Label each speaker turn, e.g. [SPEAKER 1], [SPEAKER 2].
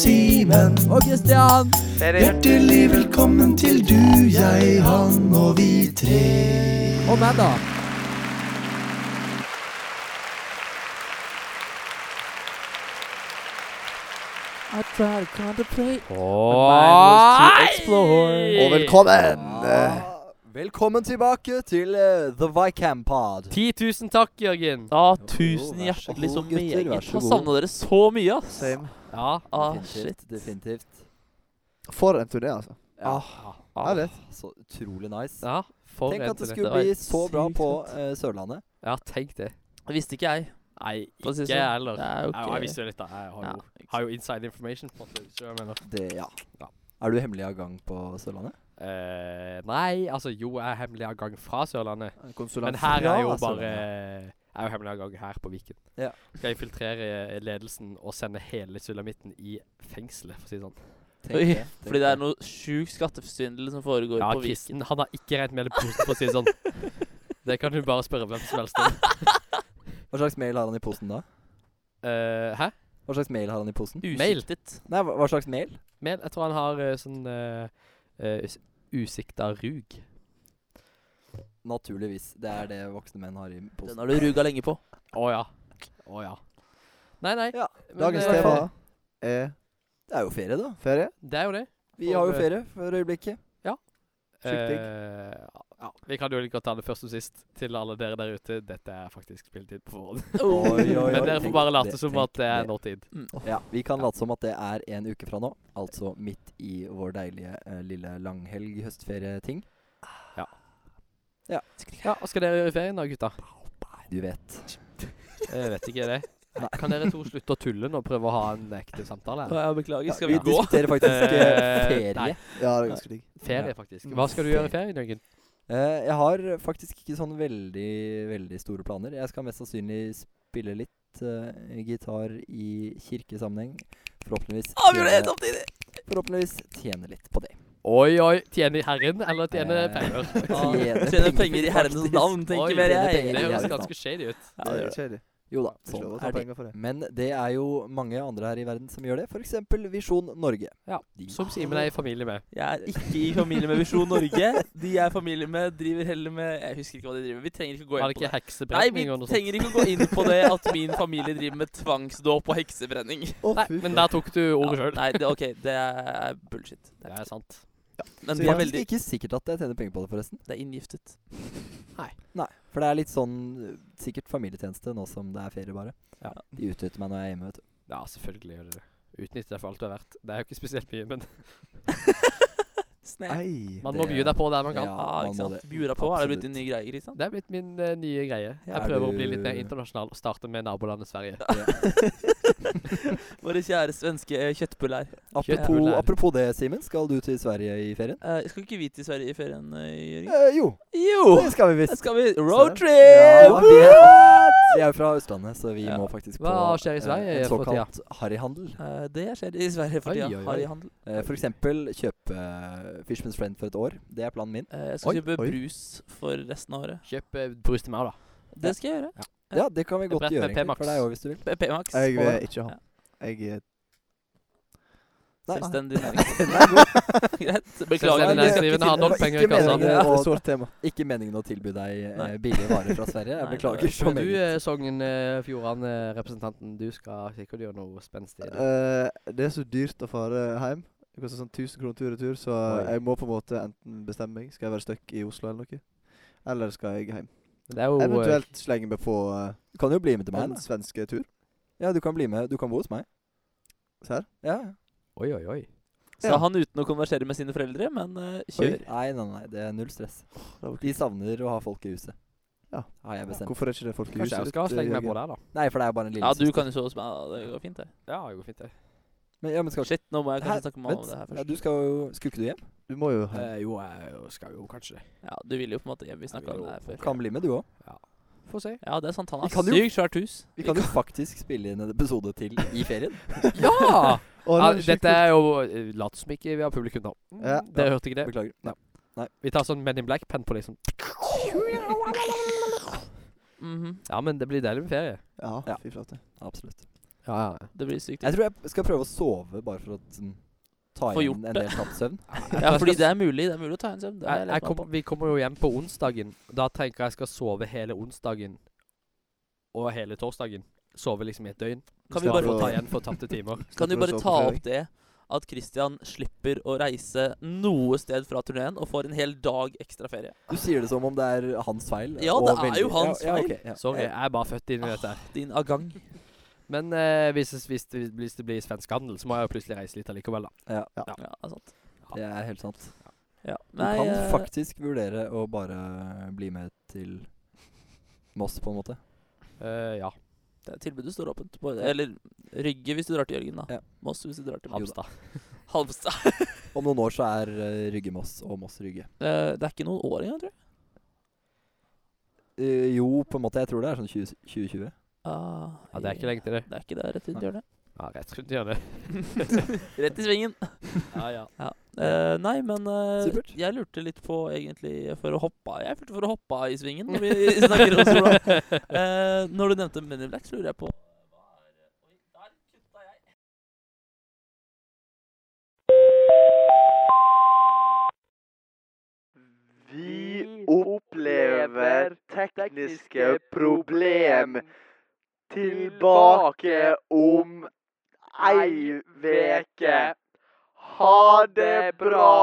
[SPEAKER 1] Simen.
[SPEAKER 2] Og Kristian.
[SPEAKER 1] Hjertelig velkommen til du, jeg, han og vi tre.
[SPEAKER 2] Og meg, da. I tried to contemplate
[SPEAKER 3] Oi!
[SPEAKER 1] Og
[SPEAKER 3] Eh.
[SPEAKER 1] velkommen!
[SPEAKER 4] eh.
[SPEAKER 1] Velkommen tilbake til eh, The Vicam Pod.
[SPEAKER 3] 10 000 takk, Jørgen.
[SPEAKER 5] Ja,
[SPEAKER 1] Jo,
[SPEAKER 5] tusen
[SPEAKER 1] vær så
[SPEAKER 5] hjertelig så
[SPEAKER 1] god, gutter,
[SPEAKER 5] meget.
[SPEAKER 1] vær så
[SPEAKER 5] Har
[SPEAKER 1] god.
[SPEAKER 5] savna dere så mye, ass.
[SPEAKER 4] Same.
[SPEAKER 3] Ja.
[SPEAKER 5] Ah, shit.
[SPEAKER 1] definitivt. definitivt.
[SPEAKER 4] For en turné, altså.
[SPEAKER 1] Ja. Ah,
[SPEAKER 4] Jeg vet.
[SPEAKER 1] Så utrolig nice.
[SPEAKER 3] ja for
[SPEAKER 1] Tenk
[SPEAKER 3] en
[SPEAKER 1] at det
[SPEAKER 3] talent.
[SPEAKER 1] skulle
[SPEAKER 5] var
[SPEAKER 1] bli så bra
[SPEAKER 5] sykt
[SPEAKER 1] på
[SPEAKER 5] fett.
[SPEAKER 1] eh, Sørlandet.
[SPEAKER 3] Ja, tenk det.
[SPEAKER 5] Det visste ikke jeg.
[SPEAKER 3] Nei,
[SPEAKER 5] For å si
[SPEAKER 3] ikke
[SPEAKER 5] det
[SPEAKER 3] jeg
[SPEAKER 5] sånn.
[SPEAKER 3] heller.
[SPEAKER 5] Det er jo
[SPEAKER 3] Jeg, jeg
[SPEAKER 5] ikke-
[SPEAKER 3] visste jo litt, da. Jeg har
[SPEAKER 5] Ja,
[SPEAKER 3] jo, har jo inside information. på en måte, hvis du skjønner hva sånn, jeg mener.
[SPEAKER 1] Det, ja.
[SPEAKER 3] Ja.
[SPEAKER 1] Er du hemmelig av gang på Sørlandet?
[SPEAKER 3] Eh, nei, altså jo, jeg er hemmelig av gang fra Sørlandet. Men
[SPEAKER 4] Konsulent.
[SPEAKER 3] her er
[SPEAKER 1] fra
[SPEAKER 3] jo bare
[SPEAKER 1] Sørlandet.
[SPEAKER 3] Jeg er jo hemmelig av gang her på Viken.
[SPEAKER 1] altså, Ja.
[SPEAKER 3] Skal infiltrere eh, ledelsen og sende hele sulamitten i fengselet, for å si det sånn.
[SPEAKER 5] Oi, fordi det er noe sjuk skatteforsvindel som foregår
[SPEAKER 3] Ja,
[SPEAKER 5] på Viken.
[SPEAKER 3] Kristen, han har ikke regnet med det positivt, for å si det sånn. Det kan du bare spørre hvem som helst om.
[SPEAKER 1] Hva slags mail har han i posen da?
[SPEAKER 3] Eh, hæ?
[SPEAKER 1] Hva slags mail har han i posen?
[SPEAKER 3] Mail.
[SPEAKER 5] Usiktet.
[SPEAKER 1] Nei, hva, hva slags mail?
[SPEAKER 3] Men jeg tror han har eh, sånn uh, usikta rug.
[SPEAKER 1] Naturligvis. Det er det voksne menn har i
[SPEAKER 5] Den
[SPEAKER 1] posen.
[SPEAKER 5] har du ruga lenge på.
[SPEAKER 3] Å ja. Å ja. Nei, nei.
[SPEAKER 1] Ja,
[SPEAKER 3] men,
[SPEAKER 4] Dagens
[SPEAKER 3] eh,
[SPEAKER 4] tema er
[SPEAKER 1] Det er jo ferie, da.
[SPEAKER 4] ferie.
[SPEAKER 3] Det er jo det.
[SPEAKER 1] Vi har jo ferie for øyeblikket.
[SPEAKER 4] Sykt digg.
[SPEAKER 3] Eh, ja, vi kan jo like godt ta det først og sist til alle dere der ute. Dette er faktisk spilletid på forhånd.
[SPEAKER 1] Oi, oi, oi.
[SPEAKER 3] Men dere får bare
[SPEAKER 1] Tenk
[SPEAKER 3] late
[SPEAKER 1] det,
[SPEAKER 3] som
[SPEAKER 1] tenk
[SPEAKER 3] at det er
[SPEAKER 1] det.
[SPEAKER 3] nåtid.
[SPEAKER 5] Mm.
[SPEAKER 1] Ja, Vi kan late som at det er en uke fra nå. Altså midt i vår deilige eh, lille langhelg høstferieting.
[SPEAKER 3] Ja, Hva skal dere gjøre i ferien da, gutta?
[SPEAKER 1] Du vet.
[SPEAKER 3] Jeg vet ikke det.
[SPEAKER 1] Nei.
[SPEAKER 3] Kan dere to slutte å tulle nå og prøve å ha en ekte samtale? her?
[SPEAKER 5] Å, ja, beklager, skal
[SPEAKER 1] vi
[SPEAKER 5] vi gå?
[SPEAKER 1] diskuterer faktisk eh,
[SPEAKER 3] Eh,
[SPEAKER 1] ferie.
[SPEAKER 3] nei.
[SPEAKER 4] Ja, det er ganske digg.
[SPEAKER 3] Ferie, faktisk. Hva skal du gjøre i ferien, Jørgen?
[SPEAKER 1] Eh, jeg har faktisk ikke sånn veldig, veldig store planer. Jeg skal mest sannsynlig spille litt eh, gitar i kirkesammenheng. Forhåpentligvis
[SPEAKER 5] Avgjør det
[SPEAKER 1] tjene-
[SPEAKER 5] samtidig!
[SPEAKER 1] forhåpentligvis tjene litt på det.
[SPEAKER 3] Oi, oi. Tjene Herren eller tjene
[SPEAKER 1] Eh,
[SPEAKER 3] penger?
[SPEAKER 5] Ah,
[SPEAKER 1] Tjene
[SPEAKER 5] Tjener
[SPEAKER 1] penger,
[SPEAKER 5] penger i herrenes
[SPEAKER 1] faktisk.
[SPEAKER 5] navn,
[SPEAKER 3] Oi,
[SPEAKER 5] tenker mer
[SPEAKER 1] tjener
[SPEAKER 5] jeg.
[SPEAKER 1] penger.
[SPEAKER 3] Det
[SPEAKER 1] i
[SPEAKER 3] høres
[SPEAKER 1] herrens
[SPEAKER 3] ganske shady ut.
[SPEAKER 5] Ja,
[SPEAKER 4] Det
[SPEAKER 5] det
[SPEAKER 4] er
[SPEAKER 5] gjør
[SPEAKER 4] litt kjedelig.
[SPEAKER 1] Jo da,
[SPEAKER 4] Det er ikke
[SPEAKER 1] sånn
[SPEAKER 4] lov å ta
[SPEAKER 1] er det.
[SPEAKER 4] penger for det.
[SPEAKER 1] Men det er jo mange andre her i verden som gjør det. F.eks. Visjon Norge.
[SPEAKER 3] Ja,
[SPEAKER 1] De
[SPEAKER 3] Som Simen er i familie med.
[SPEAKER 5] Jeg er ikke i familie med Visjon Norge. De jeg er i familie med, driver heller med Jeg husker ikke hva de driver med. Vi trenger ikke å
[SPEAKER 3] Har
[SPEAKER 5] gå inn
[SPEAKER 3] det
[SPEAKER 5] på
[SPEAKER 3] ikke
[SPEAKER 5] det. Nei, vi
[SPEAKER 3] heksebrenning og noe sånt?
[SPEAKER 5] trenger ikke å gå inn på det at min familie driver med tvangsdåp og heksebrenning.
[SPEAKER 4] Å,
[SPEAKER 3] Nei,
[SPEAKER 4] fy
[SPEAKER 3] men
[SPEAKER 4] faen.
[SPEAKER 3] der tok du ordet
[SPEAKER 5] Ja,
[SPEAKER 3] sjøl.
[SPEAKER 5] nei, det, ok, det er bullshit.
[SPEAKER 3] Det
[SPEAKER 5] Det er,
[SPEAKER 3] er sant.
[SPEAKER 5] men
[SPEAKER 4] Så
[SPEAKER 1] Det er
[SPEAKER 5] det er
[SPEAKER 1] faktisk
[SPEAKER 5] veldig
[SPEAKER 1] ikke sikkert at jeg tjener penger på det, forresten.
[SPEAKER 5] Det er inngiftet.
[SPEAKER 1] Nei, For det er litt sånn eh, sikkert familietjeneste nå som det er ferie, bare.
[SPEAKER 3] Ja.
[SPEAKER 1] De utnytter meg når jeg er hjemme, vet du.
[SPEAKER 3] Ja, selvfølgelig gjør du det. Utnytt deg for alt du er verdt. Det er jo ikke spesielt mye, men
[SPEAKER 5] Snap.
[SPEAKER 4] Ei.
[SPEAKER 3] man
[SPEAKER 1] Det
[SPEAKER 3] må by
[SPEAKER 1] er-
[SPEAKER 3] deg på der man kan.
[SPEAKER 1] Ja,
[SPEAKER 5] ah,
[SPEAKER 1] man må
[SPEAKER 5] ikke sant.
[SPEAKER 1] det.
[SPEAKER 5] Bjura på er det blitt
[SPEAKER 1] Absolutt.
[SPEAKER 5] en ny greie, ikke sant?
[SPEAKER 3] Det er blitt min eh, nye greie.
[SPEAKER 1] Ja,
[SPEAKER 3] Jeg
[SPEAKER 1] er
[SPEAKER 3] prøver å bli litt mer
[SPEAKER 1] du-
[SPEAKER 3] internasjonal og starte med nabolandet Sverige.
[SPEAKER 5] Våre kjære svenske eh, kjøttbull her.
[SPEAKER 1] Apropos,
[SPEAKER 3] Kjøttbuller.
[SPEAKER 1] apropos det, Simen. Skal du til Sverige i ferien?
[SPEAKER 5] Eh, skal ikke vi til Sverige i ferien, eh, Jørgen?
[SPEAKER 1] Eh, jo,
[SPEAKER 5] Jo!
[SPEAKER 1] det skal vi
[SPEAKER 5] Da
[SPEAKER 1] visst.
[SPEAKER 5] skal vi
[SPEAKER 1] Ja,
[SPEAKER 5] roadtrip!
[SPEAKER 1] vi, er, vi er jo fra Østlandet, så vi
[SPEAKER 5] Ja.
[SPEAKER 1] må faktisk på
[SPEAKER 3] Hva skjer i
[SPEAKER 1] eh,
[SPEAKER 3] Sverige
[SPEAKER 1] en
[SPEAKER 3] for tida?
[SPEAKER 1] såkalt harryhandel.
[SPEAKER 5] Eh, det skjer i Sverige for
[SPEAKER 3] Oi,
[SPEAKER 5] tida.
[SPEAKER 3] oi, oi.
[SPEAKER 5] Harryhandel.
[SPEAKER 1] Eh, for eksempel kjøpe eh, Fishman's Friend for et år. Det er planen min.
[SPEAKER 5] Eh, jeg skal
[SPEAKER 4] Oi,
[SPEAKER 5] kjøpe
[SPEAKER 4] oi.
[SPEAKER 5] brus for resten av året.
[SPEAKER 3] Kjøp eh, brus til meg, da.
[SPEAKER 5] Det skal jeg gjøre. Ja.
[SPEAKER 1] Ja, det kan vi
[SPEAKER 3] Et brett
[SPEAKER 1] godt gjøre
[SPEAKER 3] med
[SPEAKER 1] egentlig, for
[SPEAKER 3] P-Max.
[SPEAKER 1] deg òg, hvis du vil.
[SPEAKER 5] P- P-Max.
[SPEAKER 4] Jeg
[SPEAKER 5] og
[SPEAKER 4] vil ikke ha. Jeg eh, er
[SPEAKER 1] Nei.
[SPEAKER 5] Selvstendig næringsdrivende. Greit. Beklager.
[SPEAKER 3] Selvstendig
[SPEAKER 5] men jeg skal
[SPEAKER 3] næringsdrivende har
[SPEAKER 1] til-
[SPEAKER 3] noen
[SPEAKER 1] det var
[SPEAKER 3] penger i
[SPEAKER 1] ikke
[SPEAKER 3] kassa.
[SPEAKER 1] meningen.
[SPEAKER 4] Det er et sårt tema.
[SPEAKER 1] Ikke meningen å tilby deg eh,
[SPEAKER 5] Nei.
[SPEAKER 1] billige varer fra Sverige. Jeg
[SPEAKER 5] Nei,
[SPEAKER 1] beklager så
[SPEAKER 3] Men du,
[SPEAKER 1] mye.
[SPEAKER 3] eh, Sogn eh, Fjordane-representanten, du skal sikkert gjøre noe spenstig. i det.
[SPEAKER 4] Eh, det er så dyrt å fare hjem. Det koster sånn 1000 kroner tur og tur, så
[SPEAKER 1] Oi.
[SPEAKER 4] jeg må på en måte enten bestemme meg. Skal jeg være stuck i Oslo eller noe? Eller skal jeg hjem?
[SPEAKER 3] Men Det er jo eh,
[SPEAKER 4] Eventuelt slenge meg på eh,
[SPEAKER 1] Du kan jo bli med til meg.
[SPEAKER 4] en
[SPEAKER 1] da
[SPEAKER 4] svenske tur.
[SPEAKER 1] Ja, Du kan bli med Du kan bo hos meg.
[SPEAKER 4] Se her.
[SPEAKER 1] Ja.
[SPEAKER 3] Oi, oi, oi.
[SPEAKER 5] Sa
[SPEAKER 4] Ja.
[SPEAKER 5] han uten å konversere med sine foreldre, men eh,
[SPEAKER 1] Nei,
[SPEAKER 5] kjør.
[SPEAKER 1] nei, nei. Det er null stress.
[SPEAKER 4] det var
[SPEAKER 1] De savner å ha folk i huset.
[SPEAKER 4] Ja.
[SPEAKER 1] Har jeg bestemt.
[SPEAKER 4] Hvorfor er ikke det folk i
[SPEAKER 3] Kanskje
[SPEAKER 4] huset
[SPEAKER 3] jeg skal
[SPEAKER 4] ditt, eh,
[SPEAKER 3] slenge meg
[SPEAKER 4] Jørgen?
[SPEAKER 3] på der, da.
[SPEAKER 1] Nei, for det er bare en lille
[SPEAKER 5] Ja, du kan jo sove hos meg. da. Det går fint, det.
[SPEAKER 3] Ja, det går fint, det.
[SPEAKER 1] Men, ja, men skal
[SPEAKER 5] Shit, nå må jeg
[SPEAKER 1] Hæ?
[SPEAKER 5] kanskje snakke med mamma om
[SPEAKER 1] Vent,
[SPEAKER 5] det her
[SPEAKER 1] ja,
[SPEAKER 5] først.
[SPEAKER 1] du skal jo Skulle ikke du hjem?
[SPEAKER 4] Du må jo hjem.
[SPEAKER 1] Eh,
[SPEAKER 3] jo, jeg skal jo kanskje det.
[SPEAKER 5] Ja, du ville jo på en måte hjem. Vi snakka om det her før.
[SPEAKER 1] Kan bli med, du òg.
[SPEAKER 3] Få se.
[SPEAKER 5] Ja, det er sant. Han
[SPEAKER 1] Vi
[SPEAKER 5] har
[SPEAKER 1] kan jo-
[SPEAKER 5] sykt svært hus.
[SPEAKER 1] Vi kan jo faktisk spille inn en episode til i ferien.
[SPEAKER 3] Ja!
[SPEAKER 4] Å, det
[SPEAKER 3] ja
[SPEAKER 4] er sjukt
[SPEAKER 3] dette
[SPEAKER 4] kult.
[SPEAKER 3] er jo eh, Lat som ikke vi har publikum nå. Mm,
[SPEAKER 4] Ja.
[SPEAKER 3] Dere hørte ikke det?
[SPEAKER 1] Beklager.
[SPEAKER 3] Ja. Vi tar sånn Men in Black-penn på, liksom.
[SPEAKER 5] Mhm.
[SPEAKER 3] Ja, men det blir deilig med ferie.
[SPEAKER 4] Ja,
[SPEAKER 1] Ja.
[SPEAKER 4] fy flate.
[SPEAKER 1] Absolutt.
[SPEAKER 3] Ja, ja.
[SPEAKER 5] Det blir sykt.
[SPEAKER 1] Jeg tror jeg skal prøve å sove, bare for å sånn, ta
[SPEAKER 5] Få gjort
[SPEAKER 1] igjen en
[SPEAKER 5] det.
[SPEAKER 1] del tapt søvn.
[SPEAKER 5] Ja, fordi det er mulig. Det er mulig å ta en søvn. Det har
[SPEAKER 3] Jeg,
[SPEAKER 5] jeg
[SPEAKER 3] jeg
[SPEAKER 5] lest meg
[SPEAKER 3] kom, vi kommer jo hjem på onsdagen. Da tenker jeg jeg skal sove hele onsdagen og hele torsdagen. Sove liksom i et døgn.
[SPEAKER 5] Kan vi
[SPEAKER 3] Skal
[SPEAKER 5] bare-
[SPEAKER 3] få ta igjen for tapte timer.
[SPEAKER 5] Kan du
[SPEAKER 4] Slipper å
[SPEAKER 5] bare
[SPEAKER 4] sove på
[SPEAKER 5] ta
[SPEAKER 4] fredag.
[SPEAKER 5] opp det at Christian slipper å reise noe sted fra turneen og får en hel dag ekstra ferie?
[SPEAKER 1] Du sier det som om det er hans feil.
[SPEAKER 5] Ja,
[SPEAKER 1] og
[SPEAKER 5] det er jo hans
[SPEAKER 1] ja, ja,
[SPEAKER 5] feil.
[SPEAKER 1] ok, ja.
[SPEAKER 3] Sorry, jeg er bare født inn i dette. her.
[SPEAKER 5] Din agang.
[SPEAKER 3] Men eh, hvis, hvis, det, hvis det blir svensk handel, så må jeg jo plutselig reise litt allikevel, da.
[SPEAKER 1] Ja,
[SPEAKER 5] Ja, det er sant.
[SPEAKER 1] det er helt sant.
[SPEAKER 5] Ja.
[SPEAKER 1] Du
[SPEAKER 5] Nei,
[SPEAKER 1] kan
[SPEAKER 5] eh,
[SPEAKER 1] faktisk vurdere å bare bli med til Moss, på en måte.
[SPEAKER 3] Eh, ja.
[SPEAKER 5] det er tilbudet står åpent. Både- Eller Rygge hvis du drar til Jørgen, da.
[SPEAKER 1] Ja.
[SPEAKER 5] Moss hvis du drar til meg.
[SPEAKER 3] Hamstad.
[SPEAKER 5] Halmstad.
[SPEAKER 1] Om noen år så er eh, Rygge Moss og Moss Rygge.
[SPEAKER 5] Eh, det er ikke noen år engang, tror jeg.
[SPEAKER 1] Eh, jo, på en måte. Jeg tror det er sånn 20, 2020.
[SPEAKER 5] Ah,
[SPEAKER 3] Ja, det er ikke lenge til det.
[SPEAKER 5] Det er ikke det. Rett rundt
[SPEAKER 1] Nei.
[SPEAKER 5] hjørnet.
[SPEAKER 3] Ja, rett rundt hjørnet.
[SPEAKER 5] Rett i svingen.
[SPEAKER 3] Ja, ja.
[SPEAKER 5] Ja. Eh, nei, men eh,
[SPEAKER 1] Supert.
[SPEAKER 5] jeg lurte litt på egentlig for å hoppe av. Jeg følte for å hoppe av i svingen når vi snakker om sola. Eh, når du nevnte Men in Black, så lurer jeg på
[SPEAKER 6] Vi opplever tekniske problem. Tilbake om ei veke. Ha det bra!